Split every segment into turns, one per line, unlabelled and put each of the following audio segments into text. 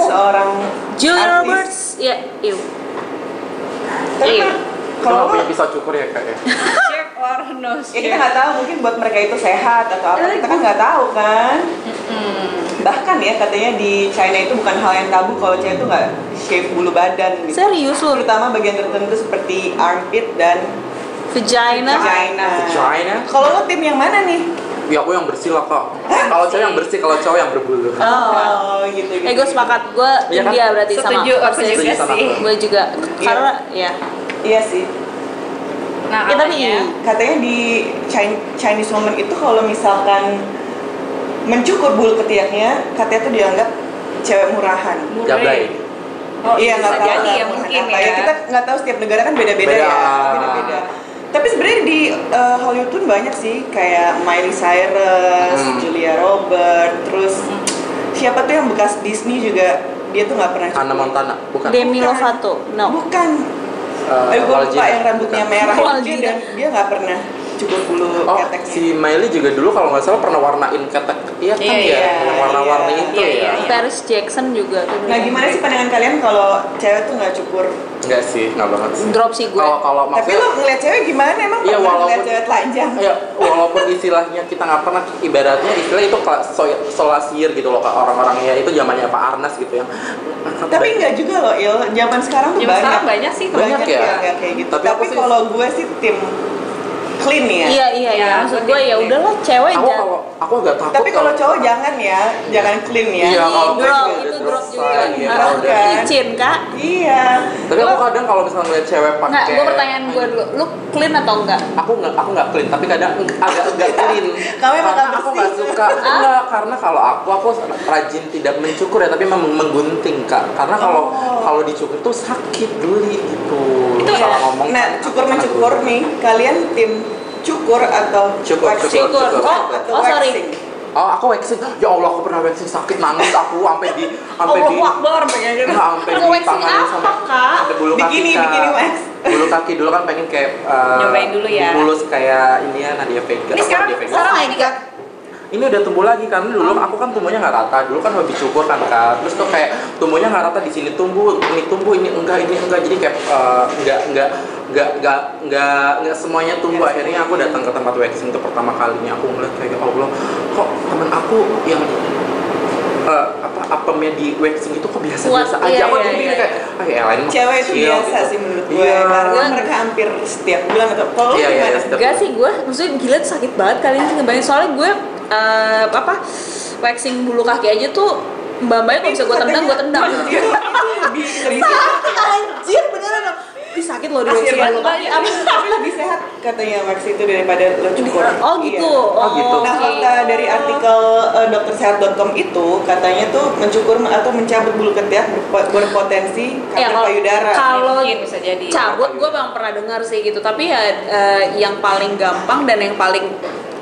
seorang
Julia
ya, artis.
Roberts ya iu
Tapi
Iya.
kan
Itu
kalau
nggak
lu-
punya pisau cukur ya kak ya?
shape or no
ya kita
Iya.
shape
nggak tahu mungkin buat mereka itu sehat atau apa
Eh,
kita kan nggak tahu kan
Mm-mm.
bahkan ya katanya di China itu bukan hal yang tabu kalau cewek itu nggak shave bulu badan gitu
serius loh
terutama bagian tertentu seperti armpit dan
vagina
vagina.
China?
Kalau lo tim yang mana nih?
Ya aku yang bersih lah kak Kalau cewek yang bersih, kalau cowok yang berbulu
oh
gitu gitu.
eh gue sepakat gue
Iya kan?
India berarti sama
setuju aku
persis
juga
Setuju sama
sih
aku.
gue juga
Iya.
karena ya
Iya sih.
nah
kita nih
makanya-
Katanya di Chin- Chinese woman itu kalau misalkan mencukur bulu ketiaknya, katanya tuh dianggap cewek murahan.
Murai.
Gablay
Oh,
iya nggak
bisa
tahu lah
jadi ya
murahan
mungkin
apa.
ya.
Kita nggak tahu setiap negara kan beda-beda ya.
Beda.
Beda-beda. Tapi sebenarnya di eh, Hollywood tuh banyak sih kayak Miley Cyrus,
Hmm.
Julia Robert, terus
Hmm.
siapa tuh yang bekas Disney juga dia tuh nggak pernah cukur.
Hannah Montana, bukan?
Demi
Bukan.
Lovato no
Bukan.
Eh,
Eh, gue lupa
Waljina.
yang rambutnya
Bukan.
merah
Waljina.
itu dan dia nggak pernah cukur bulu
Oh,
keteknya.
si Miley juga dulu kalau nggak salah pernah warnain ketek Iya kan
Iya,
ya?
iya.
Yang warna-warni
Iya.
itu
Iya, iya,
ya?
iya.
Paris Jackson juga tuh
Nah gimana sih pandangan kalian kalau cewek tuh nggak cukur?
Enggak sih, nggak banget sih
drop sih gue
Kalau kalau
iya. Tapi
maksudnya
lo ngeliat cewek gimana? Emang
Iya,
pernah
walaupun-
ngeliat cewek telanjang?
Ya, walaupun istilahnya kita nggak pernah ibaratnya istilah itu kela- so- solasir gitu loh kak orang-orangnya itu zamannya Pak Arnas gitu yang
Tapi nggak juga loh Il, zaman sekarang tuh
Zaman
banyak.
sekarang banyak sih
banyak,
Banyak ya?
yang nggak kayak gitu.
Tapi
Tapi,
aku sih-
kalau gue sih tim clean ya.
iya iya
Iya,
iya maksud gue
gua
ya
tim-
udahlah cewek
aku
jangan
kalau aku agak takut
Tapi kalau
kalau-
cowok jangan ya, jangan clean ya.
Iya, kalau
Gue
drop
juga-
itu
udah
drop
drop
juga
sign,
ya,
Nah,
udah.
izin kak
Iya.
tapi aku kadang kalau misalnya ngeliat cewek pakai
Nggak, gue pertanyaan gue dulu, lu clean atau enggak?
aku nggak aku nggak clean tapi kadang agak agak clean
Kamu emang
karena
nggak
aku
bersih.
nggak suka enggak karena kalau aku aku rajin tidak mencukur ya tapi memang menggunting kak karena kalau
Oh.
kalau dicukur tuh sakit geli gitu
Itu ya.
salah ngomong
Nah,
kan,
cukur
karena
mencukur
geli.
nih, kalian tim cukur atau
Cukur,
waxing?
cukur, cukur.
Oh, atau
Oh, sorry.
waxing?
oh aku waxing ya allah aku pernah waxing sakit nangis aku sampai di sampai di
Allahu Akbar pengen gitu.
Enggak, sampai
Mau
di
Oh, waxing
tangan
apa,
sampai
Kak?
sampai bulu kaki
Bikini,
Kak.
bikini wax.
bulu kaki dulu kan pengen kayak eh,
Nyobain dulu ya.
mulus kayak ini ya Nadia Vega
Ini
apa
sekarang
Nadia Vega?
sekarang
Oh my
ini kan
ini udah tumbuh lagi karena dulu aku kan tumbuhnya nggak rata dulu kan hobi cukur kan kak terus tuh kayak tumbuhnya nggak rata di sini tumbuh ini tumbuh ini enggak ini enggak jadi kayak eh, nggak nggak nggak nggak nggak nggak semuanya tumbuh akhirnya aku datang ke tempat waxing itu pertama kalinya aku ngeliat kayak "Ya allah kok temen aku yang eh, apa apemnya di waxing itu kok biasa biasa
Kuat,
aja
iya,
aku
iya,
jadi
iya.
kayak ah ya lain mah
Cewek itu
kecil,"
biasa
gitu.
sih menurut gue.
iya
Karena mereka hampir setiap bulan atau kalau lu
Iya, iya,
gimana?
iya.
Enggak sih gue, maksudnya gila tuh sakit banget kali ini ngebayangin Soalnya gue, eh, apa, waxing bulu kaki aja tuh Mbak-mbaknya kalau bisa gue tendang, gue tendang
Itu-
Iya.
itu lebih
Iya.
lebih
Sakit anjir, beneran dong Ih sakit loh di
Asli
waxing
banget.
bulu kaki
tapi tapi lebih sehat katanya Max itu daripada lo cukur.
Oh gitu,
Iya.
oh,
gitu.
Nah,
oke.
fakta dari artikel eh, doktersehat.com itu katanya tuh mencukur atau mencabut bulu ketiak berpo- berpotensi
Ya,
kanker
kalau-
payudara.
kalau
mungkin bisa jadi.
cabut gue bang pernah dengar sih gitu tapi ya eh, yang paling gampang dan yang paling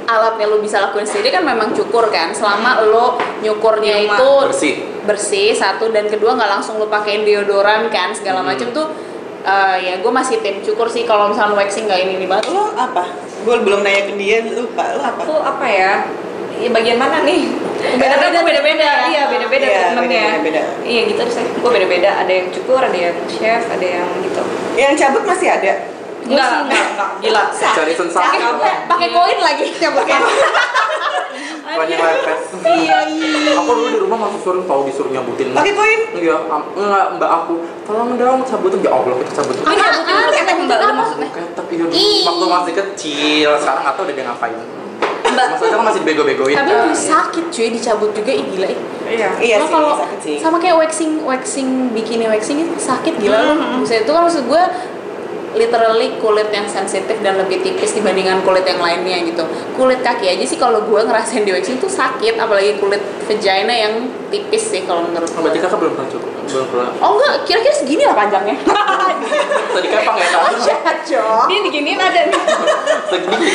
alatnya lo bisa lakuin sendiri kan memang cukur kan selama lo nyukurnya
Di rumah.
itu
bersih
bersih satu dan kedua nggak langsung lo pakein deodoran kan segala
Hmm.
macem tuh eh, ya gue masih tim cukur sih kalau misalnya waxing nggak ini ini banget
Lo apa? Gue belum nanya ke dia, lupa. Lo apa?
Aku apa ya? Ya bagian mana nih?
Beda-beda,
Karena aku beda-beda.
beda-beda.
Iya, beda-beda
Iya,
temennya.
beda-beda.
Iya, gitu terus gue beda-beda, ada yang cukur, ada yang chef, ada yang gitu.
Yang cabut masih ada.
Enggak,
sih
enggak, enggak, gila.
cari
pakai
sensasi
Iya, pakai koin lagi coba
banyak lepes
iya iya
aku dulu di rumah masuk suruh tahu disuruh nyabutin
Pakai koin.
Iya, am- enggak, mbak aku tolong dong cabutin ya Allah kita cabutin
Apa?
Ini cabutin dulu
Apa?
ketek mbak lu maksudnya.
Oke, tapi ya dulu
Ih.
waktu masih kecil sekarang nggak tahu udah dia ngapain maksudnya kan masih bego-begoin
tapi
kan
itu sakit cuy dicabut juga ih gila ih
Iya.
Iya
Cuma
sih,
kalau
sakit sih.
sama kayak waxing waxing bikini waxing itu sakit gila loh.
Mhm.
Maksudnya itu kan maksud gue literally kulit yang sensitif dan lebih tipis dibandingkan kulit yang lainnya gitu. Kulit kaki aja sih kalau gue ngerasain di waxing tuh sakit, apalagi kulit vagina yang tipis sih kalau menurut
Oh, berarti
gue.
kakak belum pernah cukup belum pernah
Oh enggak, kira-kira segini lah panjangnya.
tadi kepang ya kak
Jahat Jo.
Dia diginiin ada nih.
segini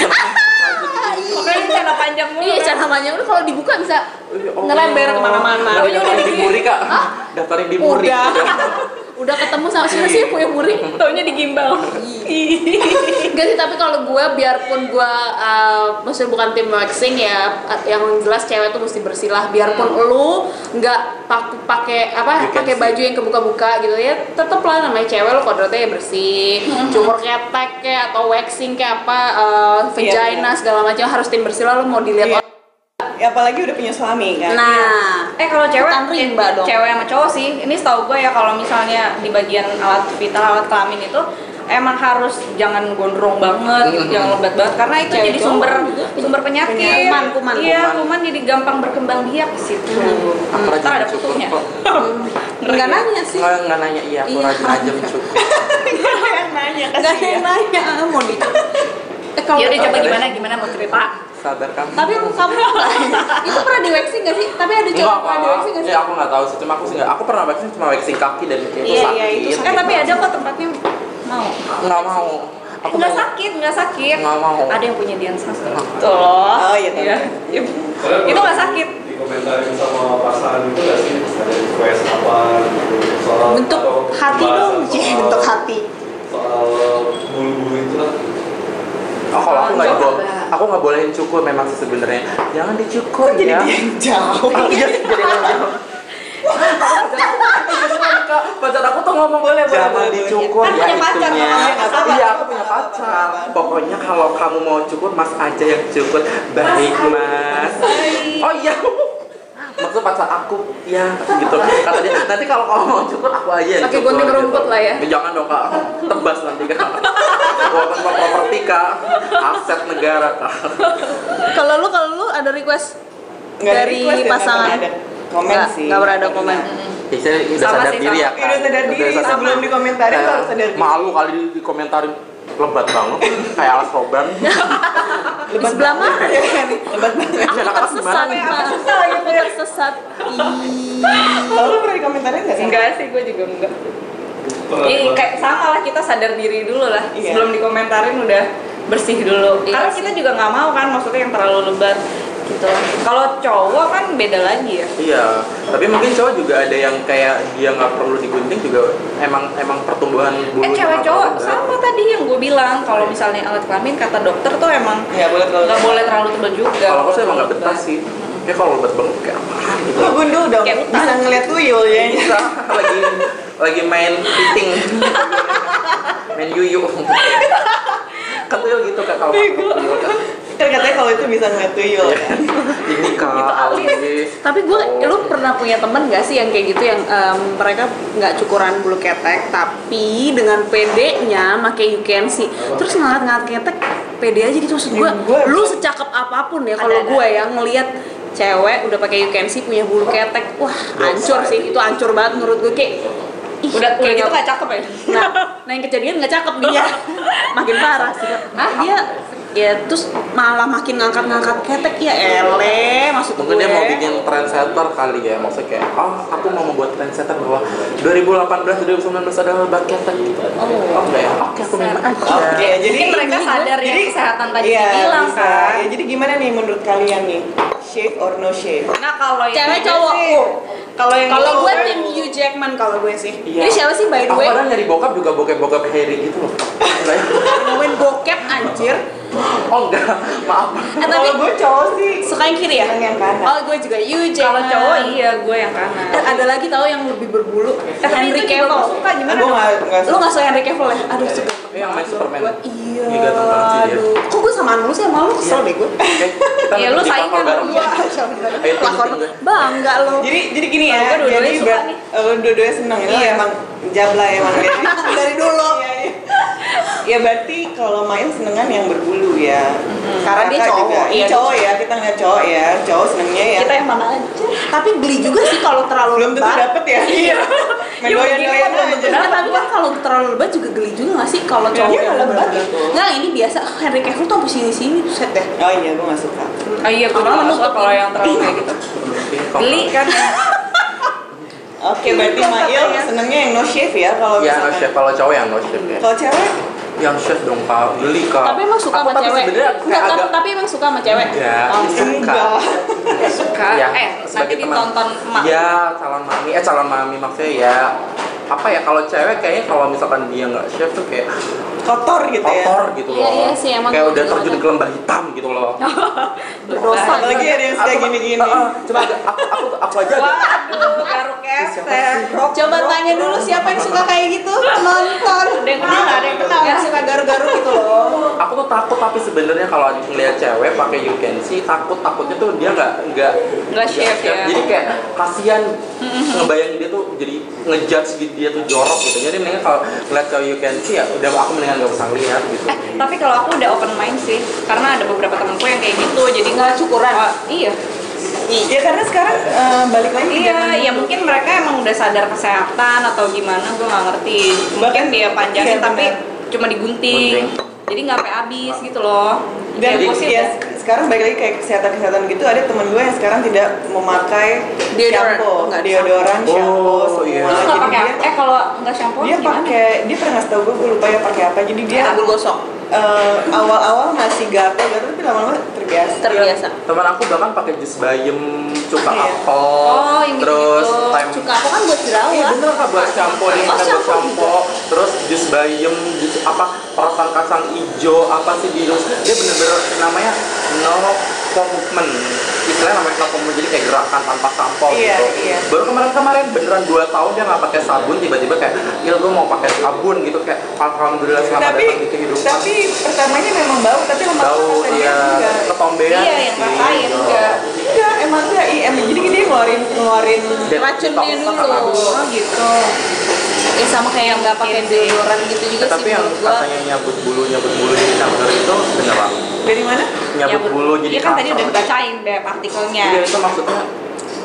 Makanya celana panjang mulu.
Iya,
kan?
cara panjang itu kalau dibuka bisa
Oh,
ngelember kemana-mana.
Daftarin di muri kak daftarin di muri
Udah. udah ketemu sama siapa sih punya muri
Taunya di gimbal.
Gak sih, tapi kalau gue biarpun gue uh, maksudnya bukan tim waxing ya, uh, yang jelas cewek tuh mesti bersilah. Biarpun lu nggak pak- pakai
You
apa
can
pakai
see.
baju yang kebuka-buka gitu ya, tetep lah namanya cewek lo kodratnya ya bersih. Cukur ketek kayak atau waxing kayak apa uh, vagina
benar.
segala macam harus tim bersilah lo mau dilihat
Iya.
orang.
Ya, apalagi udah punya suami kan.
Nah,
Eh kalau cewek,
Bukan rimba
eh,
dong.
cewek sama cowok sih. Ini setahu gue ya kalau misalnya di bagian alat vital, alat kelamin itu emang harus jangan gondrong banget, gitu, jangan lebat banget karena itu
Cewek
jadi
cowok
sumber
juga.
sumber penyakit.
Kuman, kuman, Mm-hmm.
Iya,
kuman.
kuman jadi gampang berkembang biak ke situ.
Aku rajin
Ntar ada
mencukur
kutunya.
kok.
nggak nanya sih.
Nggak nggak nanya iya, aku
Iya.
rajin aja mencukur.
yang nanya
Gak ada
kasihan.
yang nanya mau di. Eh, kalau-
Ya udah coba
Ada.
gimana gimana mau cerita.
Sabar kamu.
Tapi lu kamu itu pernah di waxing gak sih? Tapi ada cowok
Enggak,
pernah di waxing gak sih?
ya, aku nggak tahu sih, cuma aku sih nggak. Aku pernah waxing cuma waxing kaki dan itu
Iya,
sakit.
iya, itu sakit.
Eh tapi ada kok tempatnya mau.
Nggak mau. Aku
Nggak
mau-
sakit, nggak sakit.
Nggak mau.
Ada yang punya Dian Sastro.
Nggak.
Tuh loh.
Oh, iya, tahu.
Iya. Itu nggak sakit.
dikomentarin sama pasangan itu nggak sih ada request apa gitu soal
Bentuk
atau
hati dong,
pembahasan soal-
Bentuk hati.
soal bulu-bulu itu lah
Oh, kalau aku nggak
Coba.
dibawa, aku nggak bolehin cukur memang sih sebenarnya. Jangan dicukur
Jadi
ya.
dia yang jauh.
Iya, jadi ngomong. Pacar aku tuh ngomong boleh
boleh,
jangan
boleh.
dicukur
Kan
ya
punya pacar,
itunya.
namanya
nggak apa-apa.
Iya aku punya pacar. Pokoknya kalau kamu mau cukur mas aja yang cukur baik mas. Oh iya. Maksud pacar aku ya gitu. Kata dia nanti kalau kamu mau cukur aku aja yang
Pakai
cukur,
gunting
gitu.
rumput lah ya.
Jangan dong kak, tebas nanti kak. Walaupun mau properti kak, aset negara kak.
Kalau lu kalau lu ada request
Nggak ada
Dari
request ya, nggak
pasangan.
pernah ada komen
Nggak-
sih. Nah,
nggak pernah ada komen.
pernah.
Ya, saya udah
Sama
sadar
sih,
diri
sama.
ya
Ya,
kan.
udah sadar diri sebelum dikomentarin tuh harus sadar diri.
Malu kali di- dikomentarin lebat banget kayak alas roban.
di sebelah mana?
Iya kan? Lebat banget.
Aku
Anak-anak
tersesat.
gimana?
Pak. Aku iya, tersesat. Ih.
Kalau lu pernah dikomentarin nggak? Sam?
Enggak sih, gue juga enggak.
Pernah-
Jadi
pernah-
kayak sama lah kita sadar diri dulu lah
Iya.
sebelum dikomentarin udah bersih dulu.
Iya
Karena
sih.
kita juga nggak mau kan maksudnya yang terlalu lebat gitu. Kalau cowok kan beda lagi ya.
Iya, tapi mungkin cowok juga ada yang kayak dia nggak perlu digunting juga emang emang pertumbuhan bulu.
Eh cewek cowok sama tadi yang gue bilang kalau misalnya alat kelamin kata dokter tuh emang
Nggak boleh terlalu.
nggak boleh terlalu tebal
Iya,
juga.
Iya, Kalau aku sih emang nggak betah sih. Ya kalau lebat banget kayak apaan gitu.
Lu gundul dong.
Kayak utang.
Bisa ngeliat tuyul ya.
Bisa lagi lagi main fitting, main yuyu. Kan tuyul gitu kak kalau makan tuyul, Kak.
Kan katanya kalau itu bisa ngeliat tuyul. kan?
Ini kak, alis.
Tapi gue,
Oh.
lu pernah punya temen gak sih yang kayak gitu yang em, mereka nggak cukuran bulu ketek tapi dengan PD-nya make you can see. Terus ngeliat-ngeliat ketek PD aja gitu maksud gue.
Ya, gua-
Lu secakep apapun ya
Ada,
kalau
ada.
gue ya ngeliat cewek udah pakai you can see punya bulu ketek, wah hancur sih itu hancur banget menurut gue kayak ih,
Udah
kayak
udah gitu
nggak-
nggak cakep ya.
Nah, nah yang kejadian nggak cakep dia, Iya. makin parah sih. Ah dia ya terus malah makin ngangkat-ngangkat ketek ya ele maksud
Mungkin
gue.
dia mau bikin trendsetter kali ya, maksudnya kayak, oh aku mau membuat trendsetter bahwa 2018-2019 adalah bad ketek gitu. Oh, enggak ya? Oke, aku memang aja.
Oke,
Iya.
jadi
Mungkin mereka sadar ya
jadi-
kesehatan tadi
Iya,
dibilang
bisa.
kan.
Ya, jadi gimana nih menurut kalian nih? Shave or no shave?
Nah kalau yang-
Cewek Eh, cowok.
Kalau yang
Kalau
kan
gue
cowok-
tim Hugh Jackman kalau gue sih.
Iya.
Ini siapa sih by the
Aku
way?
kadang nyari bokap juga bokep-bokep Harry gitu loh. Enggak ya?
Ngomongin bokep anjir.
Oh enggak, maaf.
Eh tapi
Kalau gue cowok sih
suka yang kiri ya?
Yang yang kanan.
Oh gue juga Hugh Jackman.
kalau cowok iya gue yang kanan.
Eh, ada lagi tau yang lebih berbulu
Eh, tapi
Henry
itu juga gua
Cavill.
suka gimana?
gue
dong?
nggak nggak
Lu gak suka Henry Cavill ya? Aduh suka.
Iya, Ini yang main Superman.
Gua,
Ini ganteng banget
iya.
sih dia. Iya.
Aduh. Kok gue samaan lu
ya,
sih sama lu kesel deh gue.
Oke, kita
Iya, lu
nonton di
saingan
platform bareng. ya. Eh,
berdua.
Ayo, tunggu,
Lakon
tunggu.
bangga lu.
jadi jadi gini
Kalau
kan
ya
gue dua-duanya
jadi
suka
ber-
nih.
eh, lu dua-duanya seneng itu
Iya.
emang jabla emang dari dulu
Iya,
ya berarti kalau main senengan yang berbulu ya
Mm-hmm. Karena dia
Kakak
cowok,
juga.
iya.
Ini cowok ya kita ngeliat cowok ya cowok senengnya ya
Kita yang mana aja. Tapi geli juga sih kalau terlalu
belum tentu
lebat.
dapet ya iya main
Ya,
doyan doyan
begini kan belum
aja
tentu
Nah, tapi kan kalau terlalu lebat juga geli juga gak sih kalau
Iya,
cowok
iya,
yang
lebat
bener-bener-
gitu.
Nggak, ini biasa Henry Cavill tuh sampai sini-sini tuh set deh
oh iya gue nggak suka
Oh iya, gue
Orang
juga nggak suka
menutup.
kalau yang terlalu kayak gitu. Beli kan ya.
oke berarti
Iya,
Mail
iya.
senengnya yang no shave ya kalau
Ya, no
misalkan
chef. Kalau cowok yang no chef ya.
kalau cewek
Yang chef dong, Kak. Geli, Kak.
Tapi emang suka
Aku
sama
tapi
cewek
sebenarnya
Nggak,
kayak
tapi-
agak
tapi emang suka sama cewek
Ya,
Oh,
suka.
enggak.
Suka.
Ya,
Ah,
eh, nanti
sebagai teman.
ditonton emak.
Iya, calon mami. Eh, calon mami maksudnya ya apa ya kalau cewek kayaknya kalau misalkan dia nggak shave tuh kayak
kotor gitu ya
kotor gitu
Iya,
loh
iya sih, emang
kayak
gitu
udah terjun
banget.
ke lembah hitam gitu loh
Berdosa.
apalagi ada yang suka gini-gini
Heeh, coba agak- aku aku aku aja agak-
Waduh, garuk efek.
Coba tanya dulu siapa yang suka kayak gitu penonton.
Ada yang
Dia
kenal
nggak ada yang kenal yang suka garuk-garuk gitu loh
aku tuh takut tapi sebenarnya kalau ngeliat cewek pakai you can see takut takutnya tuh dia nggak nggak
Nggak shape
nggak-
ya.
jadi kayak kasihan ngebayangin dia tuh jadi ngejudge gitu, dia tuh jorok gitu jadi mendingan kalau ngeliat cewek you can see ya udah aku mendingan nggak usah ngeliat gitu
Eh, tapi kalau aku udah open mind sih, karena ada beberapa temanku yang kayak gitu, jadi nggak cukuran. iya,
ya karena sekarang eh, balik lagi ke
iya,
zaman
ya mungkin mereka emang udah sadar kesehatan atau gimana, gue nggak ngerti. Mungkin
Bahkan-
dia panjangin
iya,
tapi
benar.
cuma digunting,
Gunting.
jadi nggak sampai habis gitu loh.
dan
Jadi,
ya, sekarang balik lagi kayak kesehatan kesehatan gitu ada temen gue yang sekarang tidak memakai
Deodoran.
shampoo
Nggak ada
deodoran
shampoo.
shampoo
Oh,
semua
iya.
Terus
Jadi
nggak pakai
dia-
apa? Eh kalau nggak shampoo
dia
gimana?
pakai dia pernah ngasih tau gue gue lupa ya pakai apa jadi dia
Dia tabur gosok.
eh, awal-awal masih gatal gatal tapi lama-lama terbiasa
Terbiasa.
teman aku bahkan pakai jus bayem cuka
Iya.
apel
Oh, yang
terus
gitu-gitu.
time
Cuka aku kan buat
Iya
jerawat.
bener kak buat shampoo
Oh,
nih, kita buat
shampoo
shampoo, terus jus bayam, jus apa perasan kacang hijau, apa sih di jus dia bener-bener namanya no commitment istilahnya namanya no commitment jadi kayak gerakan tanpa sampo
Iya,
gitu.
iya.
Baru kemarin-kemarin beneran 2 tahun dia nggak pakai sabun, tiba-tiba kayak ya gue mau pakai sabun gitu kayak alhamdulillah selamat
tapi
datang di kehidupan.
tapi pertamanya memang bau tapi lama-lama
Bau
kata dia
iya,
enggak
ketombean
Iya, yang
sih,
rasain,
gitu.
enggak.
enggak emang enggak iya emang jadi dia ngeluarin ngeluarin
Dan
Racun
detox
dia
lah, Kak.
dulu.
Oh gitu.
Ya sama kayak yang nggak pakai deodoran gitu juga sih
Eh, Iya, tapi yang
menurut gua.
katanya nyabut bulu nyabut bulu di kanker itu beneran
dari mana
nyabut bulu jadi
Iya kan tadi
kanker.
udah dibacain deh partikelnya.
Iya itu maksudnya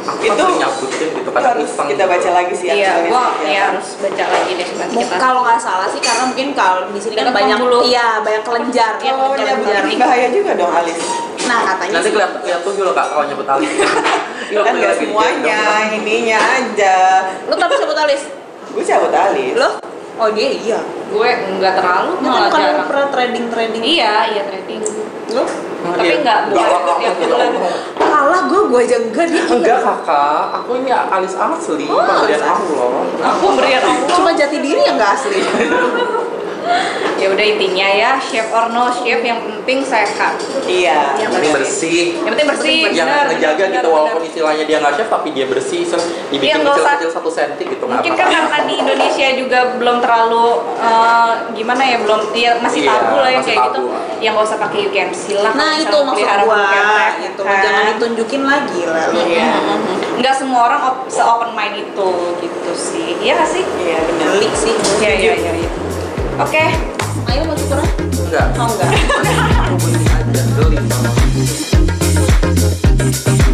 aku
Itu
itu nyabutin gitu kadang
harus
iseng
kita baca
gitu.
lagi sih
Iya,
artikelnya.
gua
Iya.
ya harus baca lagi deh buat
Mu-
kita.
Kalau nggak salah sih karena mungkin kalau di sini kan
Kan iya,
banyak
bulu.
iya banyak kelenjar ya
kalau nyabut ini Oh, bahaya juga dong alis
Nah katanya
Nanti
sih-
lihat lihat tuh dulu kak kalau nyebut alis. Iya,
kan
aku
nggak
lagi
semuanya
digendong.
ininya aja
Lu tapi sebut alis?
gue cabut alis
Lo? Oh dia iya.
gue nggak terlalu
Dia kan
malah
bukan
jarang.
pernah trading trading.
Iya, iya trading.
Lo?
Tapi
Iya.
nggak boleh
Nggak,
setiap
nggak,
bulan.
nggak.
Kalah gue gue aja enggak dia.
Enggak kakak, aku ini alis asli.
Oh,
Pemberian
alis
aku loh.
Aku berian Allah.
Cuma jati diri yang nggak asli.
Ya udah intinya ya, chef or no chef yang penting sehat.
iya
Yang penting bersih.
Yang penting bersih.
Yang
benar,
ngejaga
benar,
gitu
benar,
walaupun
benar.
istilahnya dia nggak chef tapi dia bersih. Terus dibikin
nggak usah.
kecil-kecil satu senti gitu nggak
Mungkin
apa-apa.
kan karena di Indonesia juga belum terlalu eh, gimana ya belum ya masih
Iya,
tabu lah ya
masih
kayak gitu.
tabu. ah.
Yang nggak usah pakai UKMC lah.
Nah itu maksud gua gitu. Jangan ditunjukin lagi lah. lu.
ya, Kan? Iya.
Kan? Nggak semua orang op- se open mind itu gitu sih. Iya nggak sih?
iya benar
Pelik sih.
Iya iya iya. iya. Oke.
Ayo mau curang?
Enggak.
Mau nggak?
Aku ini aja geli sama.